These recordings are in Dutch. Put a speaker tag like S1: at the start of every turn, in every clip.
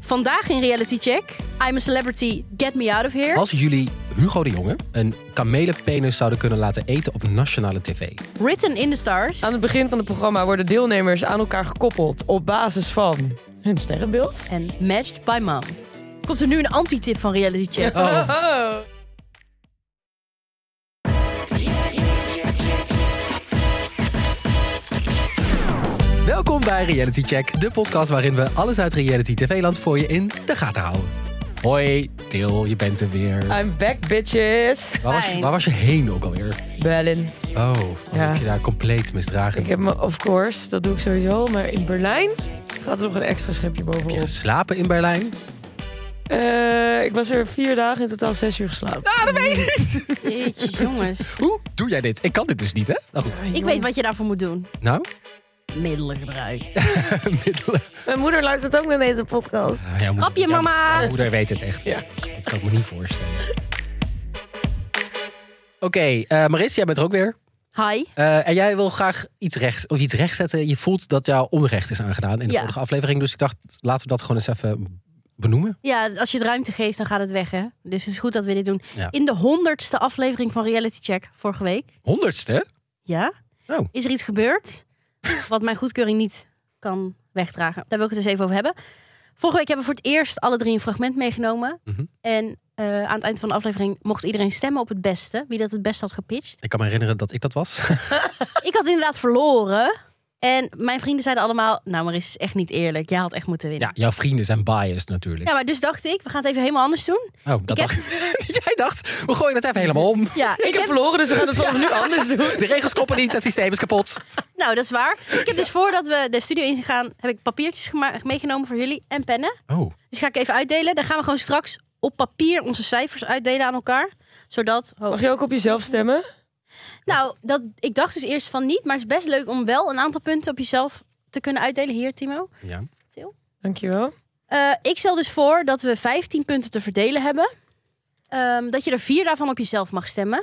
S1: Vandaag in Reality Check. I'm a celebrity, get me out of here.
S2: Als jullie Hugo de Jonge een kamelenpenis zouden kunnen laten eten op nationale tv.
S1: Written in the stars.
S3: Aan het begin van het programma worden deelnemers aan elkaar gekoppeld op basis van hun sterrenbeeld.
S1: En matched by mom. Komt er nu een anti-tip van Reality Check.
S2: Oh,
S3: Oh.
S2: welkom bij Reality Check, de podcast waarin we alles uit reality tv-land voor je in de gaten houden. Hoi, Til, je bent er weer.
S3: I'm back, bitches.
S2: Waar was, je-
S1: fijn.
S2: waar was je heen ook alweer?
S3: Berlin.
S2: Oh, dan
S3: Ja.
S2: heb je daar compleet misdragen.
S3: Ik heb me, of course, dat doe ik sowieso. Maar in Berlijn gaat er nog een extra schepje
S2: Heb je
S3: bovenop.
S2: geslapen in Berlijn?
S3: Eh, ik was er vier dagen in totaal zes uur geslapen.
S2: Ah, dat weet ik niet.
S1: Jeetje, jongens.
S2: Hoe doe jij dit? Ik kan dit dus niet, hè? Nou goed.
S1: Ik weet wat je daarvoor moet doen.
S2: Nou,
S1: Middelen gebruiken.
S2: middelen.
S3: Mijn moeder luistert ook naar deze podcast.
S2: Nou, jouw moeder-
S1: Grapje,
S2: jouw-
S1: mama.
S2: jouw moeder weet het echt.
S3: Ja.
S2: Dat kan ik me niet voorstellen. Oké, eh, Maris, jij bent er ook weer.
S1: Hi.
S2: Eh, en jij wil graag iets rechts of iets rechtzetten. Je voelt dat jou onrecht is aangedaan in de
S1: Ja.
S2: vorige aflevering. Dus ik dacht, laten we dat gewoon eens even benoemen.
S1: Ja, als je het ruimte geeft, dan gaat het weg, hè? Dus het is goed dat we dit doen.
S2: Ja.
S1: In de honderdste aflevering van Reality Check vorige week,
S2: Honderdste?
S1: ja,
S2: Oh.
S1: is er iets gebeurd wat mijn goedkeuring niet kan wegdragen. Daar wil ik het eens even over hebben. Vorige week hebben we voor het eerst alle drie een fragment meegenomen.
S2: Mhm.
S1: En eh, aan het eind van de aflevering mocht iedereen stemmen op het beste. Wie dat het best had gepitcht.
S2: Ik kan me herinneren dat ik dat was.
S1: Ik had inderdaad verloren. En mijn vrienden zeiden allemaal, nou Maris, is echt niet eerlijk. Jij had echt moeten winnen.
S2: ja, jouw vrienden zijn biased natuurlijk.
S1: Ja, maar dus dacht ik, we gaan het even helemaal anders doen.
S2: Oh, dat
S1: Ik heb-
S2: dacht Jij dacht, we gooien het even helemaal om.
S1: Ja,
S3: Ik, heb verloren, dus we gaan het vanaf nu anders doen.
S2: De regels kloppen niet, het systeem is kapot.
S1: Nou, dat is waar. Ik heb dus voordat we de studio in gaan, heb ik papiertjes gema- meegenomen voor jullie en pennen.
S2: Oh,
S1: Dus ga ik even uitdelen. Dan gaan we gewoon straks op papier onze cijfers uitdelen aan elkaar. Zodat. oh.
S3: Mag je ook op jezelf stemmen?
S1: Nou, dat, ik dacht dus eerst van niet, maar het is best leuk om wel een aantal punten op jezelf te kunnen uitdelen. Hier, Timo.
S2: ja.
S3: Dankjewel.
S1: Eh, ik stel dus voor dat we 15 punten te verdelen hebben. Ehm, dat je er vier daarvan op jezelf mag stemmen.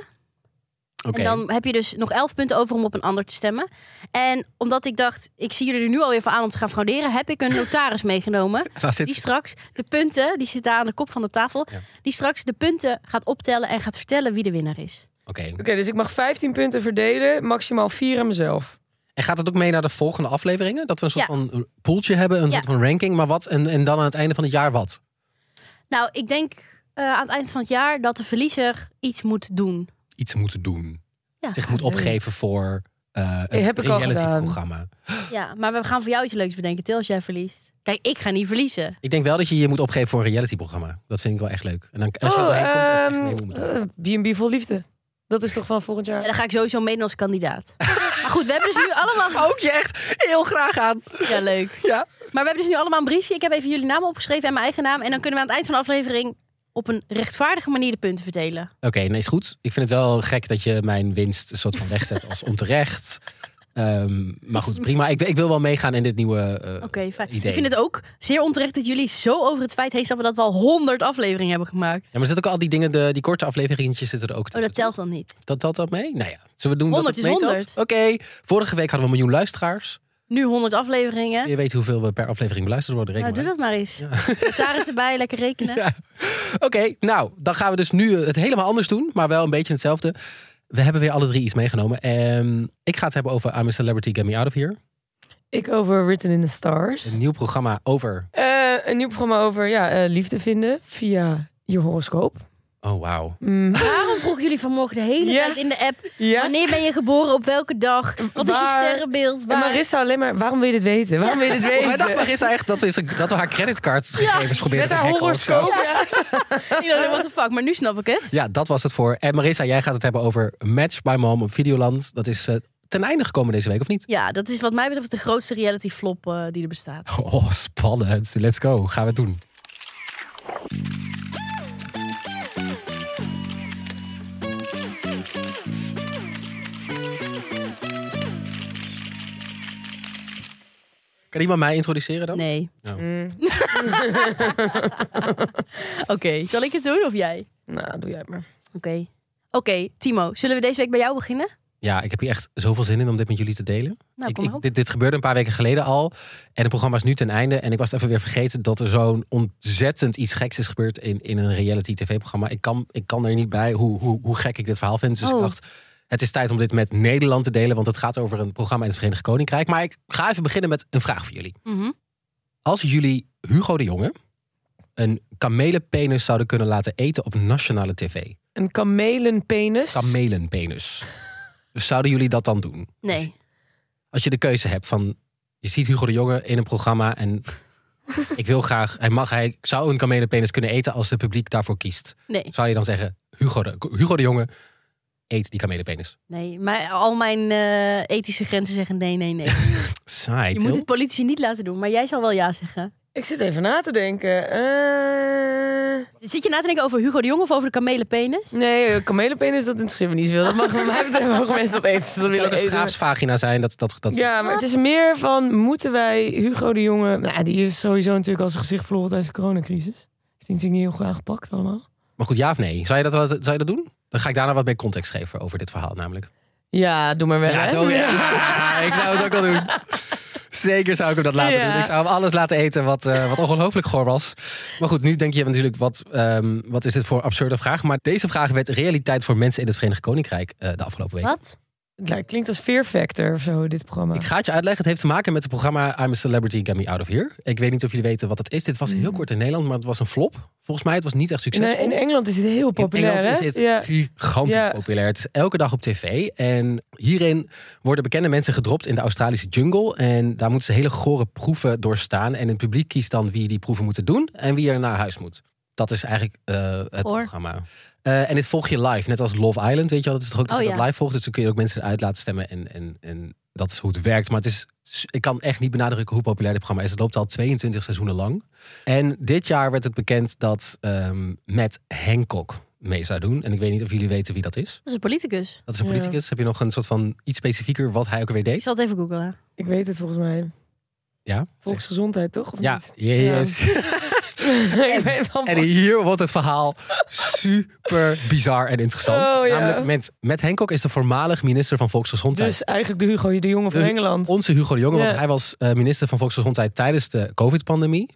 S2: Oké.
S1: En dan heb je dus nog 11 punten over om op een ander te stemmen. En omdat ik dacht, ik zie jullie er nu alweer voor aan om te gaan frauderen, heb ik een notaris meegenomen.
S2: Nou, zit-
S1: Die straks de punten, die zit daar aan de kop van de tafel,
S2: Ja.
S1: die straks de punten gaat optellen en gaat vertellen wie de winnaar is.
S2: Oké.
S3: Oké, dus ik mag 15 punten verdelen, maximaal 4 aan mezelf.
S2: En gaat dat ook mee naar de volgende afleveringen? Dat we een soort
S1: Ja.
S2: van poeltje hebben, een
S1: Ja.
S2: soort van ranking, maar wat? En, en dan aan het einde van het jaar wat?
S1: Nou, ik denk eh, aan het eind van het jaar dat de verliezer iets moet doen.
S2: Iets moeten doen.
S1: Ja,
S2: Zich moet
S3: leuk.
S2: opgeven voor eh een
S3: Eh, heb ik al gedaan.
S2: realityprogramma.
S1: ja, maar we gaan voor jou iets leuks bedenken, Til, als jij verliest. Kijk, ik ga niet verliezen.
S2: Ik denk wel dat je je moet opgeven voor een realityprogramma. Dat vind ik wel echt leuk. En dan, als je
S3: Oh,
S2: erheen komt, dan echt
S3: ehm,
S2: mee moet doen.
S3: eh, B&B vol liefde. Dat is toch van volgend
S1: Ja,
S3: jaar?
S1: dan ga ik sowieso meedoen als kandidaat. Maar goed, we hebben dus nu allemaal...
S2: Ook je echt heel graag aan.
S1: Ja, leuk.
S2: Ja.
S1: Maar we hebben dus nu allemaal een briefje. Ik heb even jullie namen opgeschreven en mijn eigen naam. En dan kunnen we aan het eind van de aflevering op een rechtvaardige manier de punten verdelen.
S2: Oké, nee, is goed. Ik vind het wel gek dat je mijn winst een soort van wegzet als onterecht. Ehm, maar goed, prima. Ik, ik wil wel meegaan in dit nieuwe eh,
S1: Oké, fijn.
S2: idee.
S1: Ik vind het ook zeer onterecht dat jullie zo over het feit heen stappen dat we al 100 afleveringen hebben gemaakt.
S2: Ja, maar er zitten ook al die dingen, de, die korte afleveringetjes zitten er ook
S1: Oh, dat
S2: tussen.
S1: telt dan niet.
S2: Dat telt dat mee? Nou ja, zullen we doen
S1: 100
S2: dat
S1: is
S2: het meetelt?
S1: 100.
S2: Oké, vorige week hadden we een miljoen luisteraars.
S1: Nu 100 afleveringen.
S2: Je weet hoeveel we per aflevering beluisterd worden.
S1: nou,
S2: Reken
S1: doe
S2: maar.
S1: dat maar eens. Notaris erbij, lekker rekenen.
S2: Ja. Oké, nou, dan gaan we dus nu eh, het helemaal anders doen, maar wel een beetje hetzelfde. We hebben weer alle drie iets meegenomen. Ehm, ik ga het hebben over I'm a Celebrity, Get Me Out of Here.
S3: Ik over Written in the Stars.
S2: Een nieuw programma over...
S3: Eh, een nieuw programma over ja, eh, liefde vinden via je horoscoop.
S2: Oh, wauw.
S3: Mm,
S1: Waarom vroegen jullie vanmorgen de hele
S3: Ja.
S1: tijd in de app...
S3: ja.
S1: wanneer ben je geboren, op welke dag, wat is je
S3: Waar?
S1: sterrenbeeld,
S3: En
S1: waar...
S3: Marissa alleen maar, waarom wil je dit weten? Waarom wil je dit weten?
S2: Volgens mij dacht Marissa echt dat we, dat we haar creditcardgegevens probeerden
S3: Met
S2: te
S3: haar
S2: hacken of zo.
S3: horoscoop. Ja.
S1: Wat de fuck, maar nu snap ik het.
S2: Ja, dat was het voor. En Marissa, jij gaat het hebben over Match by Mom op Videoland. Dat is eh, ten einde gekomen deze week, of niet?
S1: Ja, dat is wat mij betreft de grootste reality flop eh, die er bestaat.
S2: Oh, spannend. Let's go. Gaan we het doen. Kan iemand mij introduceren dan?
S1: Nee.
S3: Mm,
S1: Oké, zal ik het doen of jij?
S3: nou, doe jij het maar.
S1: Oké. Oké, Timo, zullen we deze week bij jou beginnen?
S2: Ja, ik heb hier echt zoveel zin in om dit met jullie te delen.
S1: Nou,
S2: Ik-
S1: kom
S2: ik-
S1: maar op.
S2: dit, dit gebeurde een paar weken geleden al. En het programma is nu ten einde. En ik was even weer vergeten dat er zo'n ontzettend iets geks is gebeurd in, in een reality tv-programma. Ik kan, ik kan er niet bij hoe, hoe, hoe gek ik dit verhaal vind. Dus
S1: Oh.
S2: ik dacht, het is tijd om dit met Nederland te delen. Want het gaat over een programma in het Verenigd Koninkrijk. Maar ik ga even beginnen met een vraag voor jullie.
S1: Mhm.
S2: Als jullie Hugo de Jonge een kamelenpenis zouden kunnen laten eten op nationale tv.
S3: Een kamelenpenis.
S2: Kamelenpenis. Dus zouden jullie dat dan doen?
S1: Nee.
S2: als je de keuze hebt van je ziet Hugo de Jonge in een programma en ik wil graag, hij mag, hij zou een kamelenpenis kunnen eten als het publiek daarvoor kiest.
S1: Nee.
S2: Zou je dan zeggen, Hugo de, Hugo de Jonge, eet die kamelenpenis.
S1: Nee. Maar al mijn eh, ethische grenzen zeggen nee, nee, nee.
S2: Saai,
S1: Je moet
S2: Til.
S1: het politici niet laten doen. Maar jij zal wel ja zeggen.
S3: Ik zit even na te denken. Eh,
S1: Zit je na te denken over Hugo de Jong of over de kamelenpenis?
S3: nee, eh, kamelenpenis, dat interesseert me niet veel. Dat mag bij mij betreft mogen mensen dat eten. als ze
S2: Het
S3: Dat
S2: kan ook
S3: willen
S2: een
S3: eten.
S2: schaapsvagina zijn. Dat, dat, dat,
S3: Ja, maar het is meer van, moeten wij Hugo de Jonge... Nou, die is sowieso natuurlijk als zijn gezicht verloren tijdens de coronacrisis. Is die natuurlijk niet heel goed aangepakt allemaal.
S2: Maar goed, ja of nee? Zou je dat, wel- zou je dat doen? Dan ga ik daarna wat meer context geven over dit verhaal namelijk.
S3: Ja, doe maar weg.
S2: Ja,
S3: hè?
S2: Til, ja, ik zou het ook wel doen. Zeker zou ik hem dat laten
S3: Ja.
S2: doen. Ik zou hem alles laten eten wat, eh, wat ongelooflijk goor was. Maar goed, nu denk je natuurlijk, wat, ehm, wat is dit voor absurde vraag? Maar deze vraag werd realiteit voor mensen in het Verenigd Koninkrijk eh, de afgelopen week.
S1: Wat?
S3: Het lijkt- klinkt als Fear Factor of zo, dit programma.
S2: Ik ga het je uitleggen. Het heeft te maken met het programma I'm a Celebrity, Get Me Out of Here. Ik weet niet of jullie weten wat dat is. Dit was heel kort in Nederland, maar het was een flop. Volgens mij, het was niet echt
S3: In,
S2: succesvol.
S3: eh, Mm. in Engeland is het heel populair,
S2: In Engeland
S3: hè?
S2: is dit
S3: Ja.
S2: gigantisch
S3: Ja.
S2: populair. Het is elke dag op tv. En hierin worden bekende mensen gedropt in de Australische jungle. En daar moeten ze hele gore proeven doorstaan. En het publiek kiest dan wie die proeven moeten doen en wie er naar huis moet. Dat is eigenlijk eh, het
S1: Hoor.
S2: programma. Eh, en dit volg je live, net als Love Island, weet je wel. Dat is toch ook dat
S1: Oh,
S2: je
S1: ja.
S2: dat live volgt. Dus dan kun je ook mensen eruit laten stemmen. En, en, en dat is hoe het werkt. Maar het is, ik kan echt niet benadrukken hoe populair dit programma is. Het loopt al 22 seizoenen lang. En dit jaar werd het bekend dat ehm Matt Hancock mee zou doen. En ik weet niet of jullie weten wie dat is.
S1: Dat is een politicus.
S2: Dat is een
S3: Ja.
S2: politicus. Heb je nog een soort van iets specifieker wat hij ook weer
S1: Ik
S2: deed?
S1: zal het even googlen.
S3: Ik weet het volgens mij.
S2: Ja?
S3: Volksgezondheid, toch? Of
S2: Ja,
S3: niet?
S2: yes.
S3: ik weet wel.
S2: En hier wordt het verhaal super bizar en interessant.
S3: Oh, ja.
S2: Namelijk, met, Matt Hancock is de voormalig minister van Volksgezondheid.
S3: Dus eigenlijk de Hugo de Jonge van
S2: Dus-
S3: Engeland.
S2: Onze Hugo de Jonge,
S3: Ja.
S2: want hij was eh, minister van Volksgezondheid tijdens de COVID-pandemie.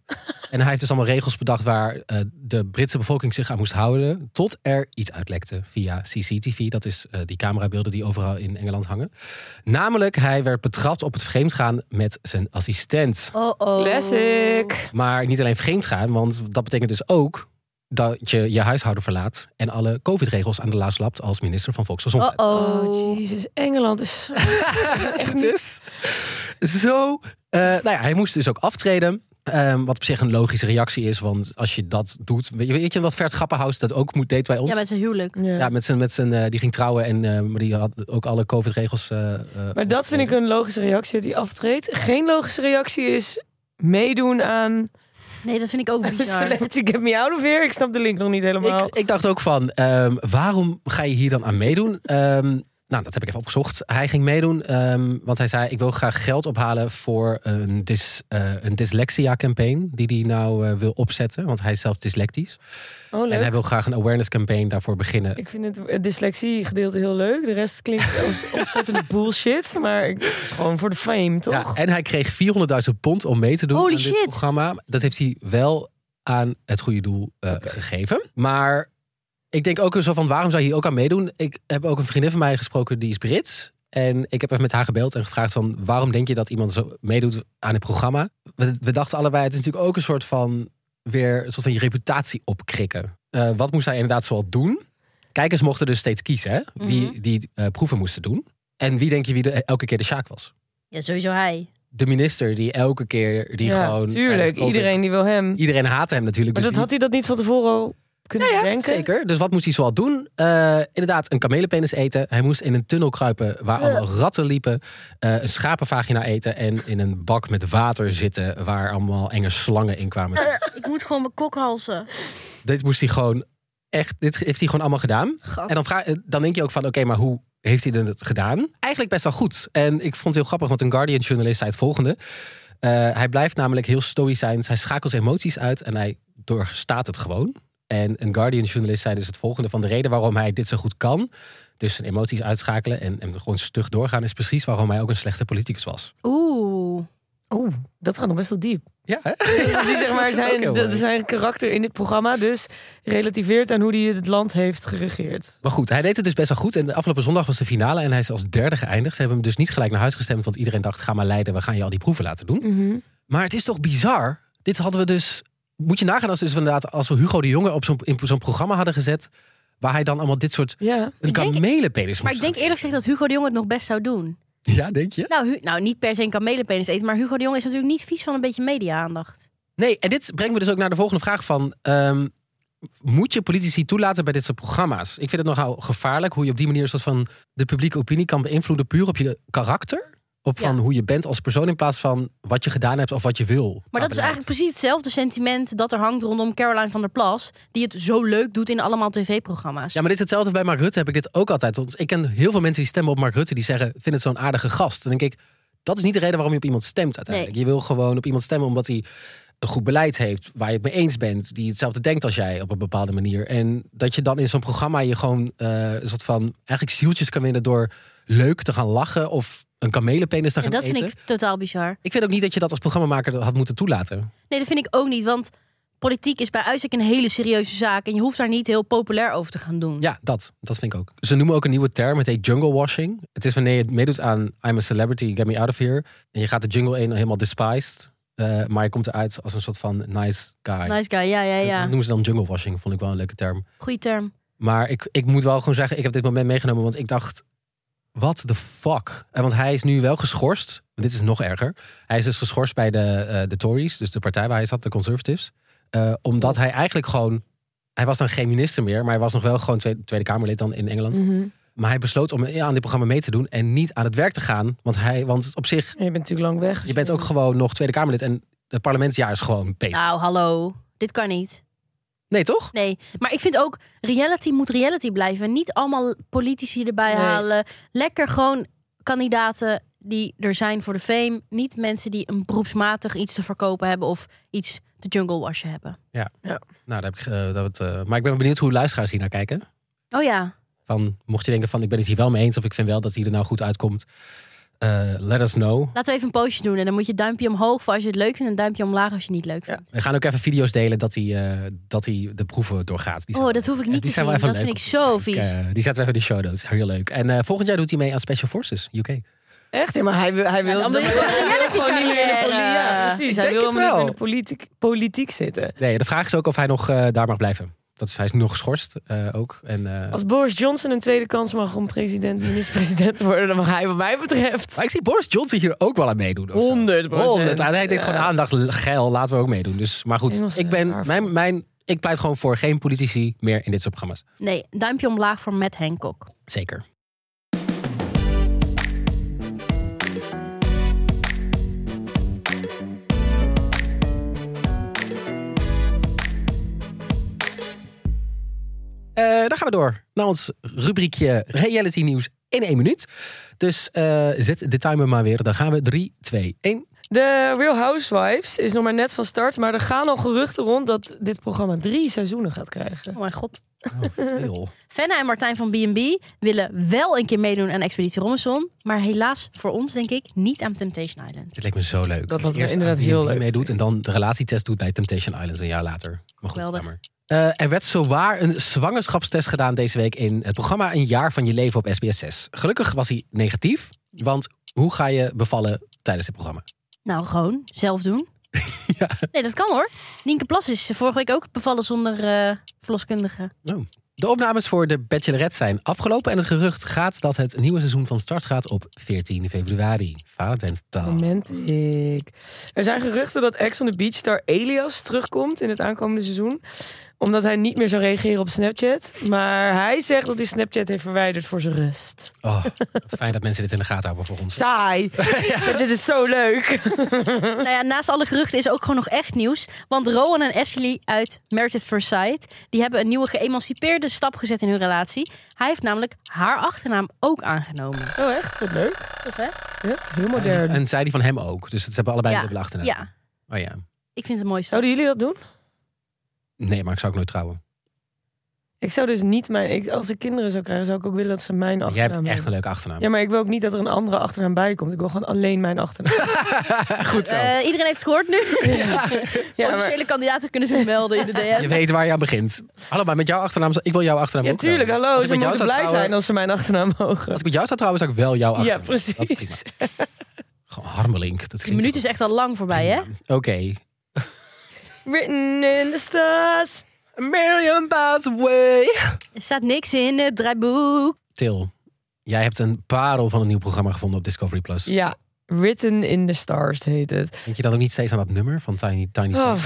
S2: en hij heeft dus allemaal regels bedacht waar eh, de Britse bevolking zich aan moest houden. Tot er iets uitlekte via CCTV. Dat is eh, die camerabeelden die overal in Engeland hangen. Namelijk, hij werd betrapt op het vreemdgaan met zijn assistent.
S1: Oh oh.
S3: Classic.
S2: Maar niet alleen vreemdgaan, want dat betekent dus ook dat je je huishouden verlaat. En alle COVID-regels aan de laars lapt als minister van
S1: Oh
S2: Volksgezondheid.
S1: oh.
S3: Oh, jezus. Engeland is... zo-
S2: Het is zo. eh, nou ja, hij moest dus ook aftreden. Ehm, wat op zich een logische reactie is, want als je dat doet. Weet je, weet je wat Vert Grappenhuis dat ook moet, deed bij ons?
S1: Ja, met zijn huwelijk.
S3: Ja.
S2: Ja, met zijn, met zijn, eh, die ging trouwen en eh, maar die had ook alle COVID-regels. eh, eh,
S3: Maar dat vind ik een logische reactie, dat hij aftreedt. Geen logische reactie is meedoen aan...
S1: Nee, dat vind ik ook bizar.
S3: Celebrity Get Me Out of Here. Ik snap de link nog niet helemaal.
S2: Ik, ik dacht ook van, ehm, waarom ga je hier dan aan meedoen? Ehm, nou, dat heb ik even opgezocht. Hij ging meedoen, ehm, want hij zei... ik wil graag geld ophalen voor een, dys, eh, een dyslexia-campaign... die hij nou eh, wil opzetten, want hij is zelf dyslectisch.
S3: oh,
S2: En
S3: leuk.
S2: hij wil graag een awareness-campaign daarvoor beginnen.
S3: Ik vind het dyslexie-gedeelte heel leuk. De rest klinkt als ontzettende bullshit. Maar ik- het is gewoon voor de fame, toch?
S2: Ja, en hij kreeg 400.000 pond om mee te doen
S1: Holy
S2: aan
S1: shit.
S2: dit programma. Dat heeft hij wel aan het goede doel eh, gegeven. Maar ik denk ook zo van, waarom zou je hier ook aan meedoen? Ik heb ook een vriendin van mij gesproken, die is Brits. En ik heb even met haar gebeld en gevraagd van... waarom denk je dat iemand zo meedoet aan het programma? We, we dachten allebei, het is natuurlijk ook een soort van... weer een soort van je reputatie opkrikken. Eh, wat moest hij inderdaad zoal doen? Kijkers mochten dus steeds kiezen hè, wie
S1: Mhm.
S2: die eh, proeven moesten doen. En wie denk je wie de, elke keer de Sjaak was?
S1: Ja, sowieso hij.
S2: de minister die elke keer die
S3: Ja,
S2: gewoon tijdens
S3: Tuurlijk,
S2: COVID-
S3: iedereen die wil hem.
S2: iedereen haatte hem natuurlijk.
S3: Maar
S2: dus
S3: dat had hij dat niet van tevoren al kunnen
S2: wie-
S3: denken?
S2: zeker. Dus wat moest hij zoal doen? Eh, inderdaad, een kamelenpenis eten. Hij moest in een tunnel kruipen waar allemaal ratten liepen. Eh, een schapenvagina eten en in een bak met water zitten waar allemaal enge slangen in
S3: Eh.
S2: kwamen.
S1: Ik moet gewoon mijn kok halsen.
S2: dit moest hij gewoon echt. Dit heeft hij gewoon allemaal gedaan.
S1: Gat.
S2: En dan, vraag, eh, dan denk je ook van, oké, maar hoe heeft hij dat gedaan? Eigenlijk best wel goed. En ik vond het heel grappig, want een Guardian-journalist zei het volgende. Eh, hij blijft namelijk heel stoïcijns. Hij schakelt zijn emoties uit en hij doorstaat het gewoon. En een Guardian-journalist zei dus het volgende van de reden waarom hij dit zo goed kan. Dus zijn emoties uitschakelen en, en gewoon stug doorgaan is precies waarom hij ook een slechte politicus was.
S1: Oeh.
S3: Oeh, dat gaat nog best wel diep.
S2: Ja, hè?
S3: Die, zeg maar,
S2: is ook heel
S3: zijn, dat
S2: mooi.
S3: is zijn karakter in dit programma dus relativeert aan hoe hij het land heeft geregeerd.
S2: Maar goed, hij deed het dus best wel goed. En de afgelopen zondag was de finale en hij is als derde geëindigd. Ze hebben hem dus niet gelijk naar huis gestemd, want iedereen dacht: ga maar leiden, we gaan je al die proeven laten doen. Maar het is toch bizar? Dit hadden we dus. Moet je nagaan als, dus inderdaad, als we Hugo de Jonge op zo'n, in zo'n programma hadden gezet. waar hij dan allemaal dit soort.
S3: Ja.
S2: een
S1: Ik denk-
S2: kamelenpenis
S1: Maar
S2: moest
S1: ik denk eerlijk gezegd dat Hugo de Jong het nog best zou doen.
S2: doen. Ja, denk je?
S1: Nou, Hu- nou niet per se een kamelenpenis eten, maar Hugo de Jong is natuurlijk niet vies van een beetje media-aandacht.
S2: Nee, en dit brengt me dus ook naar de volgende vraag: van. ehm, moet je politici toelaten bij dit soort programma's? Ik vind het nogal gevaarlijk hoe je op die manier een soort van de publieke opinie kan beïnvloeden puur op je karakter. Op van
S1: Ja.
S2: hoe je bent als persoon in plaats van wat je gedaan hebt of wat je wil.
S1: Maar dat is eigenlijk precies hetzelfde sentiment dat er hangt rondom Caroline van der Plas, die het zo leuk doet in allemaal tv-programma's.
S2: Ja, maar dit is hetzelfde bij Mark Rutte. Heb ik dit ook altijd. Want ik ken heel veel mensen die stemmen op Mark Rutte. Die zeggen, vind het zo'n aardige gast. Dan denk ik, dat is niet de reden waarom je op iemand stemt uiteindelijk. Je wil gewoon op iemand stemmen omdat hij een goed beleid heeft. Waar je het mee eens bent. Die hetzelfde denkt als jij op een bepaalde manier. En dat je dan in zo'n programma je gewoon eh, een soort van... Eigenlijk zieltjes kan winnen door leuk te gaan lachen. Of een kamelenpenis te
S1: En
S2: gaan
S1: dat
S2: eten.
S1: vind ik totaal bizar.
S2: ik vind ook niet dat je dat als programmamaker had moeten toelaten.
S1: Nee, dat vind ik ook niet, want politiek is bij uitstek een hele serieuze zaak en je hoeft daar niet heel populair over te gaan doen.
S2: Ja, dat. Dat vind ik ook. Ze noemen ook een nieuwe term. Het heet jungle washing. Het is wanneer je meedoet aan I'm a celebrity, get me out of here. En je gaat de jungle in helemaal despised. eh, maar je komt eruit als een soort van nice guy.
S1: Nice guy, ja, ja,
S2: Dat
S1: ja.
S2: noemen ze dan jungle washing. Vond ik wel een leuke term.
S1: Goeie term.
S2: Maar ik, ik moet wel gewoon zeggen, ik heb dit moment meegenomen. Want ik dacht, what the fuck? En want hij is nu wel geschorst. Want dit is nog erger. Hij is dus geschorst bij de, eh, de Tories. Dus de partij waar hij zat, de Conservatives. Eh, omdat hij eigenlijk gewoon... Hij was dan geen minister meer, maar hij was nog wel gewoon Tweede, tweede Kamerlid dan in Engeland.
S3: Mhm.
S2: Maar hij besloot om aan dit programma mee te doen en niet aan het werk te gaan. Want, hij, want op zich,
S3: En je bent natuurlijk lang weg.
S2: je bent ook gewoon nog Tweede Kamerlid en het parlementsjaar is gewoon bezig.
S1: Nou, hallo. Dit kan niet.
S2: Nee, toch?
S1: Nee, maar ik vind ook reality moet reality blijven. Niet allemaal politici erbij
S3: Nee.
S1: halen. Lekker gewoon kandidaten die er zijn voor de fame. Niet mensen die een beroepsmatig iets te verkopen hebben of iets te jungle washen hebben.
S2: Nou, daar heb ik, eh, dat, eh, maar ik ben benieuwd hoe luisteraars hier naar kijken.
S1: Oh ja,
S2: Van, mocht je denken van, ik ben het hier wel mee eens of ik vind wel dat hij er nou goed uitkomt. eh, let us know.
S1: laten we even een postje doen. En dan moet je duimpje omhoog voor als je het leuk vindt en duimpje omlaag als je het niet leuk vindt.
S2: We gaan ook even video's delen dat hij, eh, dat hij de proeven doorgaat. Die zijn- Eh,
S1: Oh, dat hoef ik niet te
S2: die zijn
S1: zien.
S2: wel
S1: Dat
S2: even
S1: vind ik
S2: leuk
S1: zo
S2: Ik,
S1: vies.
S2: eh, die zetten we even in de show notes. Heel leuk. En eh, volgend jaar doet hij mee aan Special Forces UK.
S3: Echt, ja, maar hij, wil- hij wil
S1: dan wil je
S3: hij wil
S1: gewoon reality
S3: gewoon niet meer in de
S1: carrière.
S3: politiek. Ja, precies.
S2: Ik
S3: hij
S2: denk
S3: wil
S2: het
S3: helemaal niet meer
S2: wel.
S3: in de politiek, politiek zitten.
S2: Nee, de vraag is ook of hij nog eh, daar mag blijven. Dat is, hij is nog geschorst eh, ook. En, eh,
S3: Als Boris Johnson een tweede kans mag om president, minister-president te worden, dan mag hij wat mij betreft.
S2: Maar ik zie Boris Johnson hier ook wel aan meedoen. of zo.
S3: 100
S2: Honderd. Ah, Hij heeft gewoon aandacht, geil, laten we ook meedoen. Dus, maar goed,
S3: Engels,
S2: ik, ben,
S3: eh,
S2: mijn, mijn, ik pleit gewoon voor geen politici meer in dit soort programma's.
S1: Nee, duimpje omlaag voor Matt Hancock.
S2: Zeker. Eh, dan gaan we door naar ons rubriekje reality nieuws in één minuut. Dus eh, zet de timer maar weer. Dan gaan we 3, 2, 1.
S3: De Real Housewives is nog maar net van start, maar er gaan al geruchten rond dat dit programma drie seizoenen gaat krijgen.
S1: Oh mijn god.
S2: Veel.
S1: Fenna en Martijn van B&B willen wel een keer meedoen aan Expeditie Robinson. Maar helaas voor ons, denk ik, niet aan Temptation Island.
S2: Dit lijkt me zo leuk.
S3: Dat lijkt me
S2: Eerst
S3: inderdaad
S2: aan wie
S3: heel
S2: je
S3: leuk.
S2: meedoet en dan de relatietest doet bij Temptation Island een jaar later. Maar goed,
S1: Geweldig.
S2: jammer. Eh, er werd zowaar een zwangerschapstest gedaan deze week in het programma Een jaar van je leven op SBS6. Gelukkig was hij negatief, want hoe ga je bevallen tijdens dit programma?
S1: Nou, gewoon zelf doen.
S2: Ja.
S1: Nee, dat kan hoor. Nienke Plas is vorige week ook bevallen zonder eh, verloskundige.
S2: De opnames voor de Bachelorette zijn afgelopen en het gerucht gaat dat het nieuwe seizoen van start gaat op 14 februari. Valentijnsdag.
S3: Moment ik. Er zijn geruchten dat Ex on the Beach star Elias terugkomt in het aankomende seizoen. Omdat hij niet meer zou reageren op Snapchat. Maar hij zegt dat hij Snapchat heeft verwijderd voor zijn rust.
S2: Oh, wat fijn dat mensen dit in de gaten houden voor ons.
S3: Saai. Dit is zo leuk.
S1: Nou ja, naast alle geruchten is ook gewoon nog echt nieuws. Want Rowan en Ashley uit Married at First Sight... die hebben een nieuwe geëmancipeerde stap gezet in hun relatie. Hij heeft namelijk haar achternaam ook aangenomen.
S3: Oh echt? Wat leuk.
S1: Tof, hè?
S3: Ja, heel modern.
S2: En zij die van hem ook, dus ze hebben allebei
S1: Ja.
S2: een dubbele achternaam.
S1: Ja,
S2: Oh ja.
S1: ik vind het een mooie stap.
S3: Zouden jullie dat doen?
S2: Nee, maar ik zou ook nooit trouwen.
S3: Ik zou dus niet mijn... Ik, als ik kinderen zou krijgen, zou ik ook willen dat ze mijn
S2: Jij
S3: achternaam
S2: hebt echt een
S3: hebben.
S2: leuke achternaam.
S3: Oh, nou, Ja, maar ik wil ook niet dat er een andere achternaam bij komt. Ik wil gewoon alleen mijn achternaam.
S2: Goed zo.
S1: Eh, iedereen heeft het gehoord nu.
S3: ja, maar-
S1: Potentiële kandidaten kunnen zich melden in de
S2: je
S1: DM.
S2: weet waar je aan begint. Hallo, maar met jouw achternaam... zou- Ik wil jouw achternaam
S3: ja
S2: ook wel.
S3: tuurlijk. Hallo,
S2: Als
S3: ze
S2: ik met jou
S3: moeten blij
S2: zou trouwen-
S3: zijn als ze mijn achternaam mogen.
S2: Als ik met jou zou trouwen, zou ik wel jouw
S3: Ja,
S2: achternaam. Dat is prima.
S3: precies.
S2: Gewoon harmelink. Dat
S1: Die minuut is echt al lang voorbij, hè?
S2: Oké.
S3: Written in the stars.
S2: A million miles away.
S1: Er staat niks in het draaiboek.
S2: Til, jij hebt een parel van een nieuw programma gevonden op Discovery+. Plus.
S3: Ja, Written in the Stars heet het.
S2: Denk je dan ook niet steeds aan dat nummer van Tiny Tiny
S3: Oh,
S2: Tim?